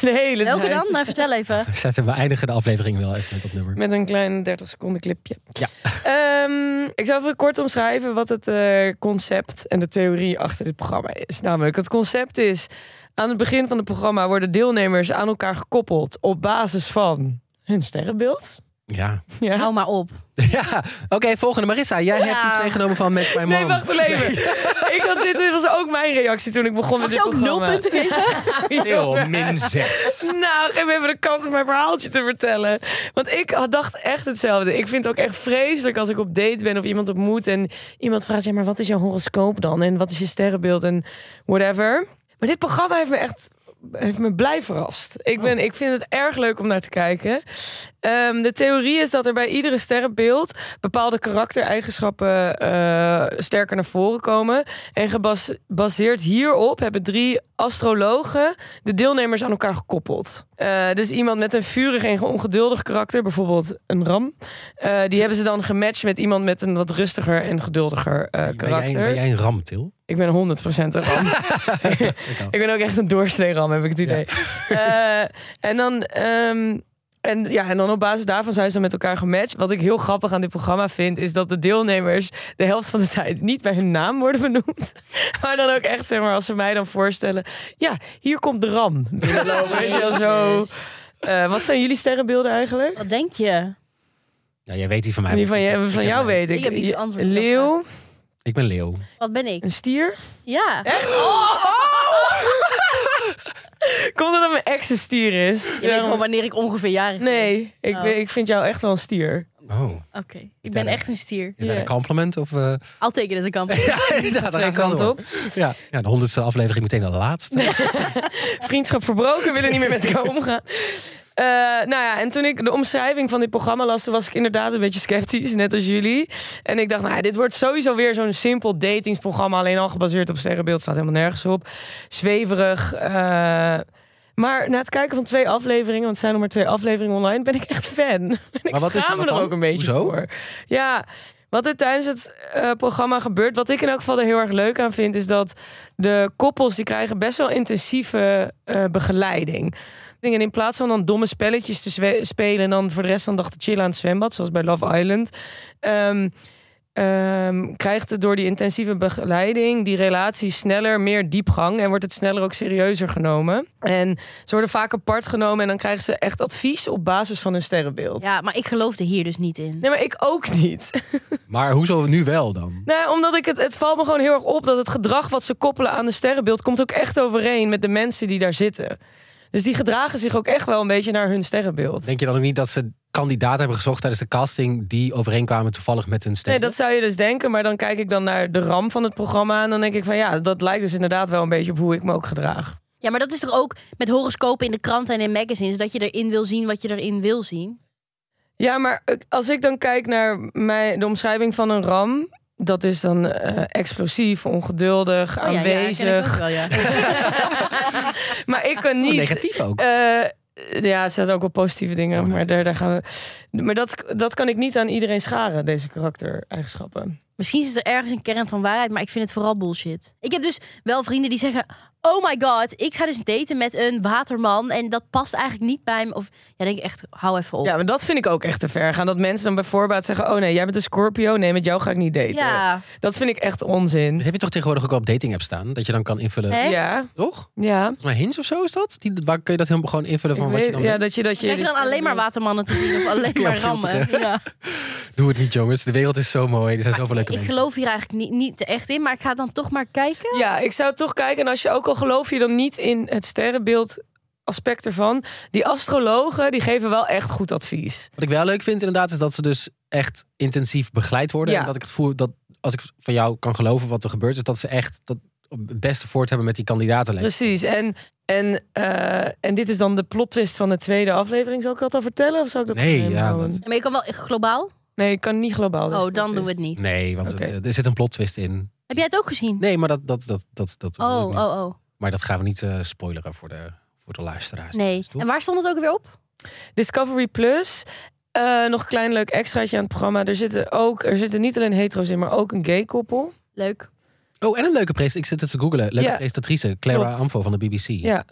S3: de hele
S1: Welke
S3: tijd.
S1: dan? Nou, vertel even.
S2: Zetten we eindigen de aflevering wel even met dat nummer.
S3: Met een klein 30 seconden clipje.
S2: Ja.
S3: Ehm, ik zal even kort omschrijven wat het eh, concept en de theorie achter dit programma is. Namelijk, het concept is... Aan het begin van het programma worden deelnemers aan elkaar gekoppeld... op basis van hun sterrenbeeld.
S2: Ja.
S3: Ja.
S1: Hou maar op.
S2: Ja. Oké, volgende. Marissa, jij hebt
S1: Ja.
S2: iets meegenomen van Match My Mom.
S3: Nee, wacht even. Ik had, dit was ook mijn reactie toen ik begon met
S1: Mag
S3: dit
S1: je ook nul
S3: programma.
S1: punten geven?
S2: Til, min 6.
S3: Nou, geef me even de kans om mijn verhaaltje te vertellen. Want ik had- dacht echt hetzelfde. Ik vind het ook echt vreselijk als ik op date ben of iemand ontmoet en iemand vraagt: ja, maar wat is jouw horoscoop dan? En wat is je sterrenbeeld en whatever. Maar dit programma heeft me echt heeft me blij verrast. Ik,
S2: Oh.
S3: ben, ik vind het erg leuk om naar te kijken. Ehm, de theorie is dat er bij iedere sterrenbeeld bepaalde karaktereigenschappen eh, sterker naar voren komen. En gebaseerd hierop hebben drie astrologen de deelnemers aan elkaar gekoppeld. Eh, dus iemand met een vurig en ongeduldig karakter, bijvoorbeeld een ram, eh, die hebben ze dan gematcht met iemand met een wat rustiger en geduldiger eh,
S2: Ben jij,
S3: karakter.
S2: ben jij een ram, Til?
S3: Ik ben 100% een ram. Ik ben ook echt een doorsnee-ram, heb ik het idee. Eh, en, dan, ehm, en, ja, en dan op basis daarvan zijn ze dan met elkaar gematcht. Wat ik heel grappig aan dit programma vind, is dat de deelnemers de helft van de tijd niet bij hun naam worden benoemd. Maar dan ook echt, zeg maar, als ze mij dan voorstellen. Ja, hier komt de ram binnenlopen. Weet je wel zo. Eh, wat zijn jullie sterrenbeelden eigenlijk?
S1: Wat denk je?
S2: Ja, jij weet die van mij.
S3: Die van,
S2: Ik
S3: je,
S2: heb-
S3: van
S2: ik heb
S3: jou
S2: mijn-
S3: weet ik.
S1: Ik heb niet het antwoord
S3: Een
S1: op dat
S3: leeuw,
S2: Ik ben leeuw.
S1: Wat ben ik?
S3: een stier.
S1: Ja.
S3: Komt dat mijn ex een stier is?
S1: Je weet gewoon wanneer ik ongeveer jarig ben.
S3: Nee, ik,
S1: Oh.
S3: ben- ik vind jou echt wel een stier.
S2: Oh.
S1: Oké. Ik ben
S2: dat-
S1: echt een stier.
S2: Is dat
S3: Ja.
S2: een compliment? Of, eh,
S1: I'll take it as a compliment.
S2: Ja, inderdaad. daar
S3: Twee
S2: gaan ze
S3: kanten
S2: door.
S3: op.
S2: Ja. ja, de honderdste aflevering meteen de laatste.
S3: vriendschap verbroken, willen niet meer met elkaar omgaan. Eh, nou ja, en toen ik de omschrijving van dit programma las, toen was ik inderdaad een beetje sceptisch, net als jullie. En ik dacht, nou, ja, dit wordt sowieso weer zo'n simpel datingsprogramma, alleen al gebaseerd op sterrenbeeld, staat helemaal nergens op. Zweverig. eh. maar na het kijken van twee afleveringen, want het zijn nog maar twee afleveringen online, ben ik echt fan. En ik
S2: Maar wat is-
S3: schaam me
S2: wat
S3: er
S2: dan?
S3: ook een beetje
S2: Hoezo?
S3: voor. Ja, wat er tijdens het eh, programma gebeurt, wat ik in elk geval er heel erg leuk aan vind, is dat de koppels die krijgen best wel intensieve eh, begeleiding. En in plaats van dan domme spelletjes te zwe- spelen en dan voor de rest van de dag te chillen aan het zwembad, zoals bij Love Island, ehm, ehm, krijgt het door die intensieve begeleiding die relatie sneller meer diepgang en wordt het sneller ook serieuzer genomen. En ze worden vaak apart genomen en dan krijgen ze echt advies op basis van hun sterrenbeeld.
S1: Ja, maar ik geloofde hier dus niet in.
S3: Nee, maar ik ook niet.
S2: Maar hoezo nu wel dan?
S3: Nou, ja, omdat ik het, het valt me gewoon heel erg op dat het gedrag wat ze koppelen aan de sterrenbeeld komt ook echt overeen met de mensen die daar zitten. Dus die gedragen zich ook echt wel een beetje naar hun sterrenbeeld.
S2: Denk je dan ook niet dat ze kandidaten hebben gezocht tijdens de casting die overeenkwamen toevallig met hun stem?
S3: Nee, dat zou je dus denken, maar dan kijk ik dan naar de ram van het programma en dan denk ik van ja, dat lijkt dus inderdaad wel een beetje op hoe ik me ook gedraag.
S1: Ja, maar dat is toch ook met horoscopen in de kranten en in magazines... dat je erin wil zien wat je erin wil zien?
S3: Ja, maar ik- als ik dan kijk naar mij, de omschrijving van een ram, dat is dan eh, explosief, ongeduldig,
S1: Oh ja, ja, ken ik
S3: aanwezig.
S1: ook Oh, wel, ja.
S3: Maar ik kan
S2: is
S3: niet
S2: negatief ook.
S3: Eh, ja, er zaten ook wel positieve dingen,
S2: Oh, dat
S3: maar
S2: is-
S3: daar, daar gaan we. Maar dat, dat kan ik niet aan iedereen scharen, deze karaktereigenschappen.
S1: Misschien zit er ergens een kern van waarheid, maar ik vind het vooral bullshit. Ik heb dus wel vrienden die zeggen: Oh my god, ik ga dus daten met een waterman en dat past eigenlijk niet bij me. Of ja, denk ik echt, hou even op.
S3: Ja, maar dat vind ik ook echt te ver gaan. Dat mensen dan bij voorbaat zeggen: Oh nee, jij bent een Scorpio, nee, met jou ga ik niet daten.
S1: Ja.
S3: Dat vind ik echt onzin.
S2: Dat heb je toch tegenwoordig ook wel op dating app staan? Dat je dan kan invullen.
S1: Hè? Echt?
S3: Ja,
S2: Toch? Volgens
S3: ja.
S2: mij Hinge of zo is dat? Die, waar kun je dat helemaal gewoon invullen
S3: Ik
S2: van Oh, wat je
S3: weet-
S2: dan
S3: ja,
S2: wil?
S3: dat je, dat je, dus-
S1: Krijg je dan alleen maar watermannen te zien of alleen
S2: Ja,
S1: maar rammen?
S2: filteren.
S1: Ja.
S2: Doe het niet jongens, de wereld is zo mooi. Er zijn zoveel leuke
S1: Ik
S2: mensen.
S1: geloof hier eigenlijk niet, niet echt in, maar ik ga dan toch maar kijken.
S3: Ja, ik zou toch kijken. En als je ook al geloof je dan niet in het sterrenbeeld aspect ervan. Die astrologen die geven wel echt goed advies.
S2: Wat ik wel leuk vind inderdaad, is dat ze dus echt intensief begeleid worden.
S3: Ja.
S2: En dat ik het voel dat als ik van jou kan geloven wat er gebeurt, is dat ze echt dat op het beste voort hebben met die kandidatenlijst.
S3: Precies. En, en, eh, en dit is dan de plot twist van de tweede aflevering. Zal ik dat al vertellen? Of zou ik dat
S2: Nee,
S3: geheim
S2: ja,
S3: houden?
S2: dat-
S1: Maar je kan wel
S2: Oh,
S1: globaal?
S3: Nee, ik kan niet globaal. deze
S1: Oh,
S3: plot
S1: dan doen
S3: twist.
S1: we het niet.
S2: Nee, want
S3: Oké.
S2: eh, er zit een plot twist in.
S1: Heb jij het ook gezien?
S2: Nee, maar dat, dat, dat, dat, dat wil ik
S1: Oh,
S2: niet.
S1: oh, oh.
S2: Maar dat gaan we niet eh, spoileren voor de, voor de luisteraars.
S1: Nee.
S2: Dus toch?
S1: En waar stond het ook weer op?
S3: Discovery Plus. Eh, nog een klein leuk extraatje aan het programma. Er zitten, ook, er zitten niet alleen hetero's in, maar ook een gay koppel.
S1: Leuk.
S2: Oh, en een leuke presentatrice. Ik zit het te googlen. Leuke
S3: Ja.
S2: presentatrice, Clara
S3: Klopt.
S2: Amfo van de BBC.
S3: Ja,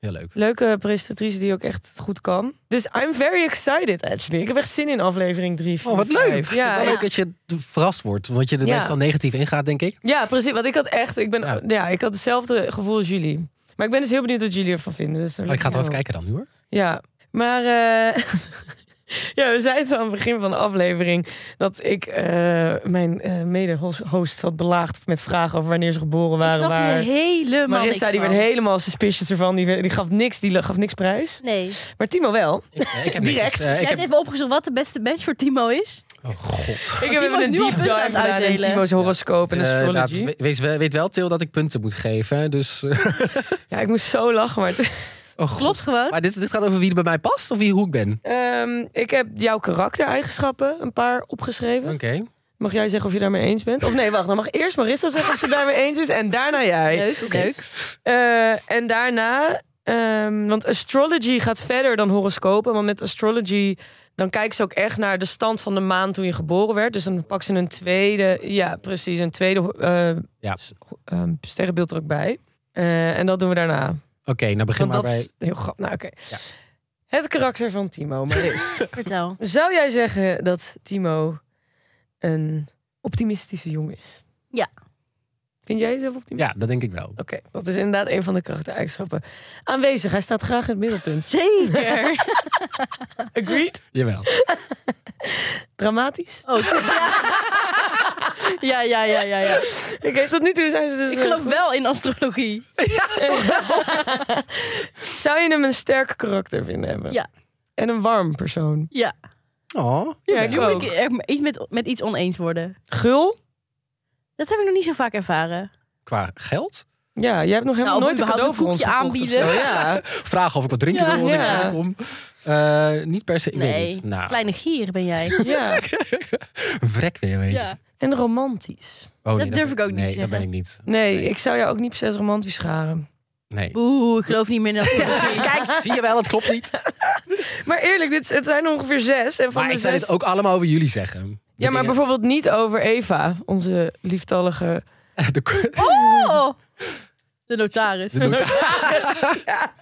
S2: Heel leuk.
S3: leuke presentatrice die ook echt het goed kan. Dus I'm very excited actually. Ik heb echt zin in aflevering 3.
S2: Oh, wat leuk. het is
S3: Ja,
S2: wel
S1: ja.
S2: leuk dat je verrast wordt. Want je er
S3: Ja.
S2: meestal negatief ingaat, denk ik.
S3: ja, precies. Want ik had echt, ik ben,
S2: Ja.
S3: ja. ik had hetzelfde gevoel als jullie. Maar ik ben dus heel benieuwd wat jullie ervan vinden. Dus daar
S2: Maar Oh, ik ga
S3: let
S2: het wel
S3: me
S2: even kijken dan nu hoor.
S3: Ja, maar eh, ja, we zeiden aan het begin van de aflevering dat ik eh, mijn eh mede-host had belaagd met vragen over wanneer ze geboren
S1: Ik
S3: waren.
S1: snapte
S3: waar.
S1: helemaal
S3: Marissa
S1: niks
S3: die werd
S1: van.
S3: helemaal suspicious ervan. Die, die gaf niks, die gaf niks prijs.
S1: Nee.
S3: Maar Timo wel.
S2: Ik, eh, ik heb
S3: Direct.
S2: netjes, eh,
S1: Jij
S2: ik
S1: hebt
S2: heb...
S1: even opgezocht wat de beste match voor Timo is.
S2: Oh god.
S3: Ik heb
S1: Timo
S3: even
S1: is
S3: een
S1: nu al
S3: deep
S1: punten
S3: dive
S1: aan het
S3: gedaan in
S1: uitdelen.
S3: Timo's horoscoop en
S2: Eh, inderdaad,
S3: astrology.
S2: we- wees, we- weet wel, Til, dat ik punten moet geven. hè, Dus, eh,
S3: Ja, ik moest zo lachen. Maar het-
S2: oh, god.
S1: Klopt gewoon.
S2: Maar dit, dit gaat over wie er bij mij past of wie hoe ik ben.
S3: Ehm, ik heb jouw karaktereigenschappen een paar opgeschreven.
S2: Oké.
S3: Mag jij zeggen of je daarmee eens bent? Of nee, wacht. Dan mag eerst Marissa zeggen of ze daarmee eens is. En daarna jij.
S1: Leuk, leuk.
S3: Eh, en daarna, ehm, want astrology gaat verder dan horoscopen. Want met astrology, dan kijken ze ook echt naar de stand van de maan toen je geboren werd. Dus dan pakken ze een tweede, ja precies, een tweede eh,
S2: Ja.
S3: s- ehm, sterrenbeeld er ook bij. Eh, en dat doen we daarna.
S2: Oké, nou begin
S3: Want
S2: maar
S3: dat
S2: bij...
S3: is heel grappig. Nou, oké.
S2: Ja.
S3: Het karakter van Timo. Maris.
S1: Vertel.
S3: Zou jij zeggen dat Timo een optimistische jongen is?
S1: Ja.
S3: Vind jij jezelf optimistisch?
S2: Ja, dat denk ik wel.
S3: Oké, dat is inderdaad een van de karaktereigenschappen. Aanwezig, hij staat graag in het middelpunt.
S1: Zeker.
S3: Agreed?
S2: Jawel.
S3: Dramatisch?
S1: Ook. Ja, ja, ja, ja, ja.
S3: Oké, tot nu toe zijn ze dus...
S1: Ik
S3: eh,
S1: geloof
S3: goed.
S1: wel in astrologie.
S3: eh, Zou je hem een sterk karakter vinden hebben?
S1: Ja.
S3: En een warm persoon?
S1: Ja.
S2: Oh,
S3: Ja,
S2: jawel.
S3: ik ook.
S1: Moet ik er iets met, met iets oneens worden?
S3: Gul?
S1: Dat heb ik nog niet zo vaak ervaren.
S2: Qua geld?
S3: Ja, jij hebt nog helemaal
S1: Nou, of
S3: nooit een
S1: überhaupt
S3: cadeau
S1: een
S3: voor ons
S1: koekje
S3: gekocht of
S1: aanbieden.
S3: zo. Ja.
S2: Vragen of ik wat drinken
S1: Ja,
S2: wil als
S3: ja.
S2: ik binnenkom. Eh, niet per se. Ik weet
S1: Nee.
S2: niet. Nou,
S1: Kleine gier ben jij.
S3: ja.
S2: een vrek weer, weet je.
S1: Ja.
S3: En romantisch?
S2: Oh,
S1: Dat durf ik ook niet
S2: Nee,
S1: te
S2: dat ben
S1: zeggen.
S2: ik niet.
S3: Nee, ik zou jou ook niet precies romantisch scharen.
S2: Nee.
S1: Oeh, ik geloof niet meer in astrologie.
S2: Kijk, zie je wel, het klopt niet.
S3: Maar eerlijk, dit, het zijn er ongeveer zes. En van
S2: Maar
S3: de
S2: ik zou
S3: zes...
S2: dit ook allemaal over jullie zeggen. De
S3: Ja, maar
S2: dingen-
S3: bijvoorbeeld niet over Eva, onze lieftallige...
S2: De,
S1: Oh. De notaris.
S2: de nota-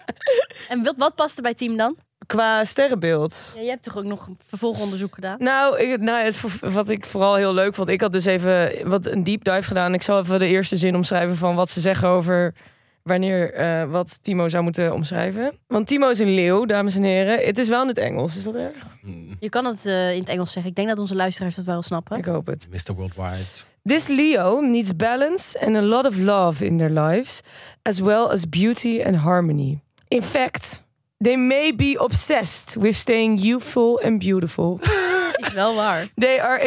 S1: En wat, wat past er bij team dan?
S3: Qua sterrenbeeld.
S1: Ja, je hebt toch ook nog een vervolgonderzoek gedaan?
S3: Nou, ik, nou het, ver- wat ik vooral heel leuk vond, ik had dus even wat een deep dive gedaan. Ik zal even de eerste zin omschrijven van wat ze zeggen over wanneer eh, wat Timo zou moeten omschrijven. Want Timo is een leeuw, dames en heren. Het is wel in het Engels, is dat erg?
S2: Mm,
S1: Je kan het eh, in het Engels zeggen. Ik denk dat onze luisteraars dat wel snappen.
S3: Ik hoop het.
S2: Mr. Worldwide.
S3: This Leo needs balance and a lot of love in their lives, as well as beauty and harmony. In fact, they may be obsessed with staying youthful and beautiful.
S1: Is wel waar.
S3: They are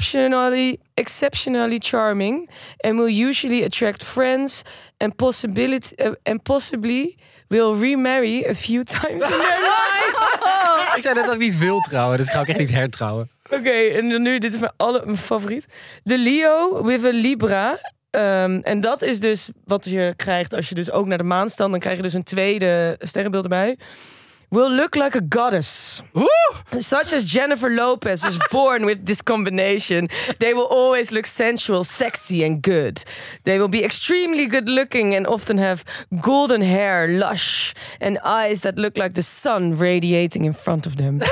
S3: exceptionally exceptionally charming and will usually attract friends and possibility eh, and possibly will remarry a few times in their life.
S2: Ik zei net dat ik niet wil trouwen, dus ga ik echt niet hertrouwen.
S3: Oké, en dan nu dit is mijn alle mijn favoriet. De Leo with a Libra. Ehm, en dat is dus wat je krijgt als je dus ook naar de maan staat. Dan krijg je dus een tweede sterrenbeeld erbij. Will look like a goddess. Such as Jennifer Lopez was born with this combination. They will always look sensual, sexy, and good. They will be extremely good looking and often have golden hair, lush, and eyes that look like the sun radiating in front of them.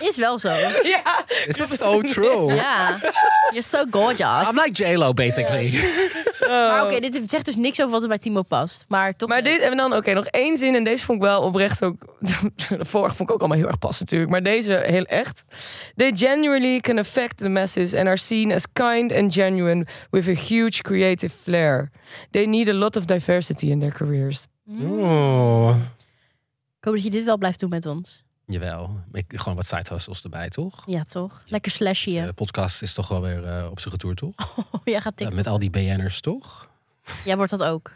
S1: Is wel zo.
S3: ja,
S2: It's so true.
S1: Ja. You're so gorgeous.
S2: I'm like J-Lo, basically.
S1: Maar oké, dit zegt dus niks over wat er bij Timo past. Maar toch.
S3: Maar
S1: leuk.
S3: dit en dan, oké, nog één zin. En deze vond ik wel oprecht ook. De vorige vond ik ook allemaal heel erg pas natuurlijk. Maar deze heel echt. They genuinely can affect the masses and are seen as kind and genuine with a huge creative flair. They need a lot of diversity in their careers.
S2: Oh.
S1: Ik hoop dat je dit wel blijft doen met ons.
S2: Jawel. Ik, gewoon wat side hustles erbij, toch?
S1: Ja, toch? Lekker slashje.
S2: De podcast is toch wel weer eh, op zijn retour, toch?
S1: Oh, jij gaat
S2: Eh,
S1: TikTok.
S2: met al die BN'ers, toch?
S1: Jij wordt dat ook.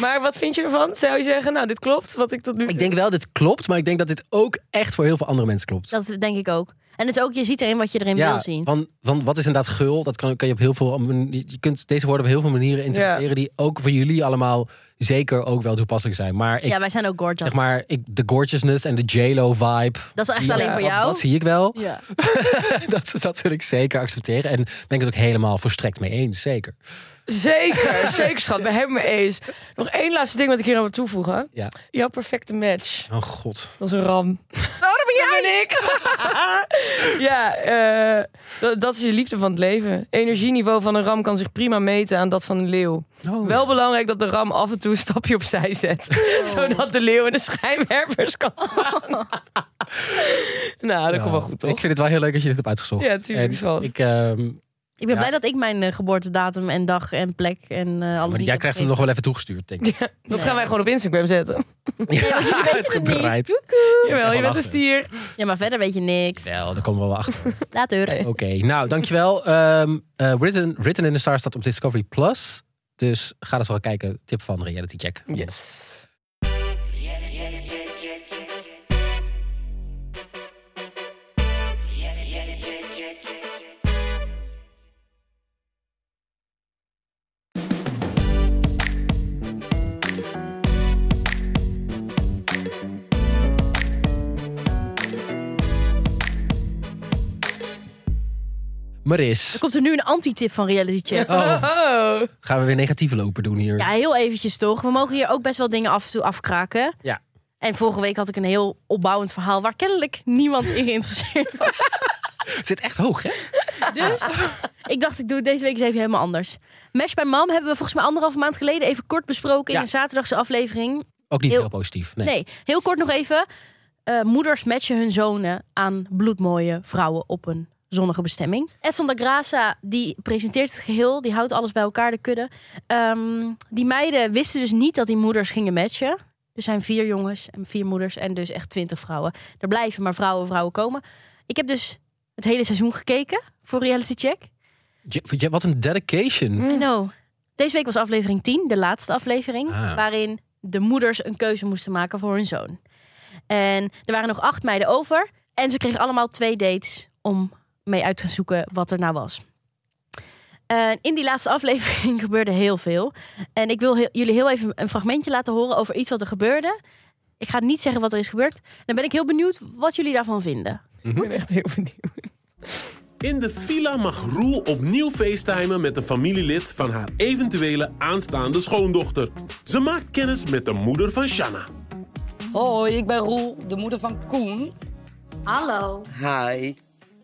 S3: Maar wat vind je ervan? Zou je zeggen, nou, dit klopt wat ik tot nu toe...
S2: Ik denk wel, dit klopt. Maar ik denk dat dit ook echt voor heel veel andere mensen klopt.
S1: Dat denk ik ook. En het is ook, je ziet erin wat je erin wil zien.
S2: Want, want wat is inderdaad gul? Dat kan, kan je op heel veel. man- Je kunt deze woorden op heel veel manieren interpreteren. die ook voor jullie allemaal zeker ook wel toepasselijk zijn. Maar ik,
S1: ja, wij zijn ook gorgeous.
S2: zeg maar, ik, de gorgeousness en de J-Lo vibe.
S1: dat is echt
S2: die-
S1: alleen
S3: Ja,
S1: voor
S2: dat-
S1: jou.
S2: Dat zie ik wel.
S1: ja.
S2: dat, dat wil ik zeker accepteren. En ben ik het ook helemaal volstrekt mee eens. Zeker.
S3: Zeker, zeker schat. We hebben me eens. Nog één laatste ding wat ik hier aan wil toevoegen.
S2: Ja.
S3: Jouw perfecte match.
S2: Oh god.
S3: Dat is een ram. Oh, dat ben jij! ik. ja, eh, dat, dat is je liefde van het leven. Energieniveau van een ram kan zich prima meten aan dat van een leeuw.
S2: Oh.
S3: Wel belangrijk dat de ram af en toe een stapje opzij zet. Zodat de leeuw in de schijnwerpers kan staan. nou, dat
S2: Ja,
S3: komt wel goed, toch?
S2: Ik vind het wel heel leuk dat je dit hebt uitgezocht.
S3: Ja, tuurlijk,
S2: En
S3: schat.
S2: Ik, ehm,
S1: Ik ben
S2: Ja.
S1: blij dat ik mijn eh, geboortedatum en dag en plek en eh, alles
S2: maar
S1: niet
S2: jij
S1: heb
S2: krijgt hem nog wel even toegestuurd, denk ik.
S3: Dat gaan wij gewoon op Instagram zetten.
S1: want jullie weten het
S2: uitgebreid.
S3: Jawel, je bent een
S2: lachen.
S3: stier.
S1: gegeven. Ja, maar verder weet je niks.
S2: Wel, daar komen we wel achter.
S1: Later.
S3: Nee.
S2: Oké, nou dankjewel. Ehm eh, Written, Written in the Stars staat op Discovery Plus. Dus ga dat wel kijken. Tip van Reality Check.
S3: Yes.
S1: Er
S2: Maris,
S1: komt er nu een anti-tip van Reality Check.
S2: Oh.
S3: Oh.
S2: gaan we weer negatieve lopen doen hier?
S1: Ja, heel eventjes toch. We mogen hier ook best wel dingen af en toe afkraken.
S2: Ja.
S1: En vorige week had ik een heel opbouwend verhaal waar kennelijk niemand in geïnteresseerd was.
S2: Zit echt hoog, hè?
S1: Dus ik dacht, ik doe het deze week eens even helemaal anders. Mesh bij Mam hebben we volgens mij anderhalve maand geleden even kort besproken
S2: Ja.
S1: in een zaterdagse aflevering.
S2: Ook niet
S1: Heel-
S2: heel, positief. Nee.
S1: Nee. heel kort nog even. Eh, moeders matchen hun zonen aan bloedmooie vrouwen op een zonnige bestemming. Edson da Graça, die presenteert het geheel. Die houdt alles bij elkaar, de kudde. Ehm, die meiden wisten dus niet dat die moeders gingen matchen. Er zijn vier jongens en vier moeders en dus echt twintig vrouwen. Er blijven maar vrouwen vrouwen komen. Ik heb dus het hele seizoen gekeken voor Reality Check.
S2: Je- je- wat een dedication.
S1: I know. Deze week was aflevering 10, de laatste aflevering,
S2: Ah.
S1: waarin de moeders een keuze moesten maken voor hun zoon. En er waren nog acht meiden over. En ze kregen allemaal twee dates om mee uit te gaan zoeken wat er nou was. En in die laatste aflevering gebeurde heel veel. En ik wil heel- jullie heel even een fragmentje laten horen over iets wat er gebeurde. Ik ga niet zeggen wat er is gebeurd. Dan ben ik heel benieuwd wat jullie daarvan vinden.
S3: Ik ben echt heel benieuwd.
S4: In de villa mag Roel opnieuw facetimen met een familielid van haar eventuele aanstaande schoondochter. Ze maakt kennis met de moeder van Shanna.
S5: Hoi, ik ben Roel, de moeder van Koen.
S6: Hallo,
S5: Hi.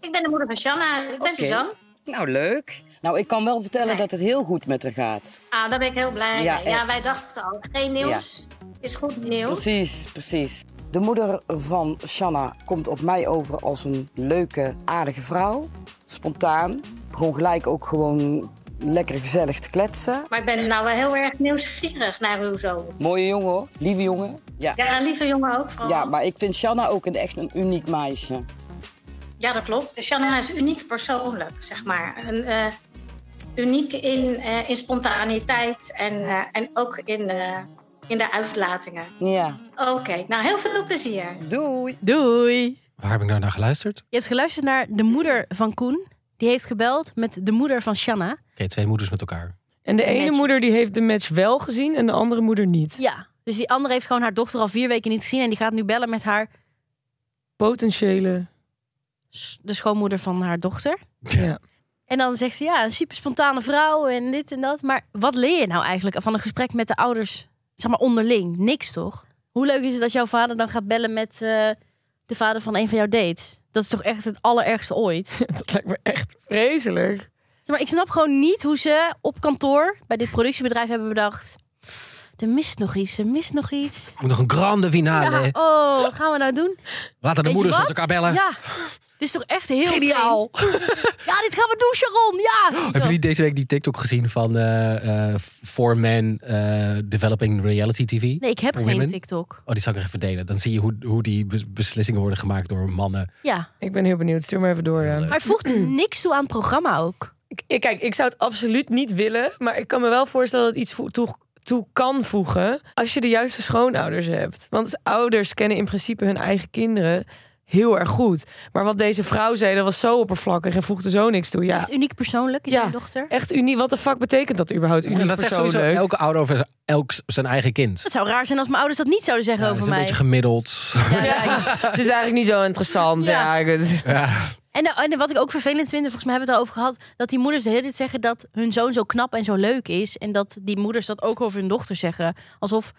S6: ik ben de moeder van Shanna. Ik ben Suzanne.
S5: Nou, leuk. Nou, ik kan wel vertellen dat het heel goed met haar gaat.
S6: Ah, daar ben ik heel blij
S5: Ja,
S6: mee. Ja,
S5: echt.
S6: wij dachten al. Geen nieuws is goed nieuws.
S5: Precies, precies. De moeder van Shanna komt op mij over als een leuke, aardige vrouw. Spontaan. Gewoon gelijk ook gewoon lekker gezellig te kletsen.
S6: Maar ik ben nou wel heel erg nieuwsgierig naar uw zoon.
S5: Mooie jongen hoor, lieve jongen. Ja.
S6: Ja, een lieve jongen ook. Van.
S5: Ja, maar ik vind Shanna ook een echt een uniek meisje.
S6: Ja, dat klopt. Shanna is uniek persoonlijk, zeg maar. Een, eh, uniek in, eh, in spontaniteit en, eh, en ook in, eh, in de uitlatingen.
S5: Ja.
S6: Oké, nou heel veel plezier.
S5: Doei.
S1: Doei!
S2: Waar heb ik nou naar geluisterd? Oké,
S1: Je hebt geluisterd naar de moeder van Koen. Die heeft gebeld met de moeder van Shanna.
S2: twee moeders met elkaar.
S3: En de
S1: Een
S3: ene
S1: match.
S3: moeder die heeft de match wel gezien en de andere moeder niet.
S1: Ja, dus die andere heeft gewoon haar dochter al vier weken niet gezien. En die gaat nu bellen met haar,
S3: Potentiële.
S1: de schoonmoeder van haar dochter.
S3: Ja.
S1: En dan zegt ze, ja, een super spontane vrouw en dit en dat. Maar wat leer je nou eigenlijk van een gesprek met de ouders, zeg maar onderling? Niks toch? Hoe leuk is het dat jouw vader dan gaat bellen met eh, de vader van een van jouw dates? Dat is toch echt het allerergste ooit?
S3: Dat lijkt me echt vreselijk.
S1: Maar ik snap gewoon niet hoe ze op kantoor bij dit productiebedrijf hebben bedacht... Er mist nog iets, er mist nog iets.
S2: Moet nog een grande finale.
S1: Ja, oh, wat gaan we nou doen?
S2: Laten de
S1: Weet je
S2: moeders met
S1: wat?
S2: elkaar bellen.
S1: Ja, Dit is toch echt heel
S2: Geniaal!
S1: vreemd? Ja, dit gaan we doen, Sharon. Ja.
S2: Hebben jullie deze week Oh, die TikTok gezien van eh eh For Men eh, Developing Reality TV?
S1: Nee, ik heb
S2: For
S1: geen
S2: women?
S1: TikTok.
S2: Oh, die zal ik nog even delen. Dan zie je hoe, hoe die be- beslissingen worden gemaakt door mannen.
S1: Ja,
S3: Ik ben heel benieuwd. Stuur maar even door, Jan.
S1: maar het voegt niks toe aan het programma ook.
S3: Ik- ik- Kijk, ik zou het absoluut niet willen. Maar ik kan me wel voorstellen dat het iets vo- toe, toe kan voegen. Als je de juiste schoonouders hebt. Want ouders kennen in principe hun eigen kinderen heel erg goed. Maar wat deze vrouw zei, dat was zo oppervlakkig en voegde zo niks toe. Ja,
S1: Echt uniek persoonlijk is
S3: Ja.
S1: mijn dochter.
S3: echt uniek. Wat de fuck betekent dat überhaupt? Uniek
S2: En dat zegt sowieso
S3: persoonlijk?
S2: elke ouder over elk z- zijn eigen kind.
S1: Het zou raar zijn als mijn ouders dat niet zouden zeggen
S2: Ja, dat is
S1: over
S2: een
S1: mij.
S2: beetje gemiddeld.
S1: Ja, ja, ja.
S3: Ze is eigenlijk niet zo interessant.
S1: Ja.
S3: Ja, ik-
S1: En, eh, en wat ik ook vervelend vind, volgens mij hebben we het al over gehad, dat die moeders de hele tijd zeggen dat hun zoon zo knap en zo leuk is. En dat die moeders dat ook over hun dochter zeggen. Alsof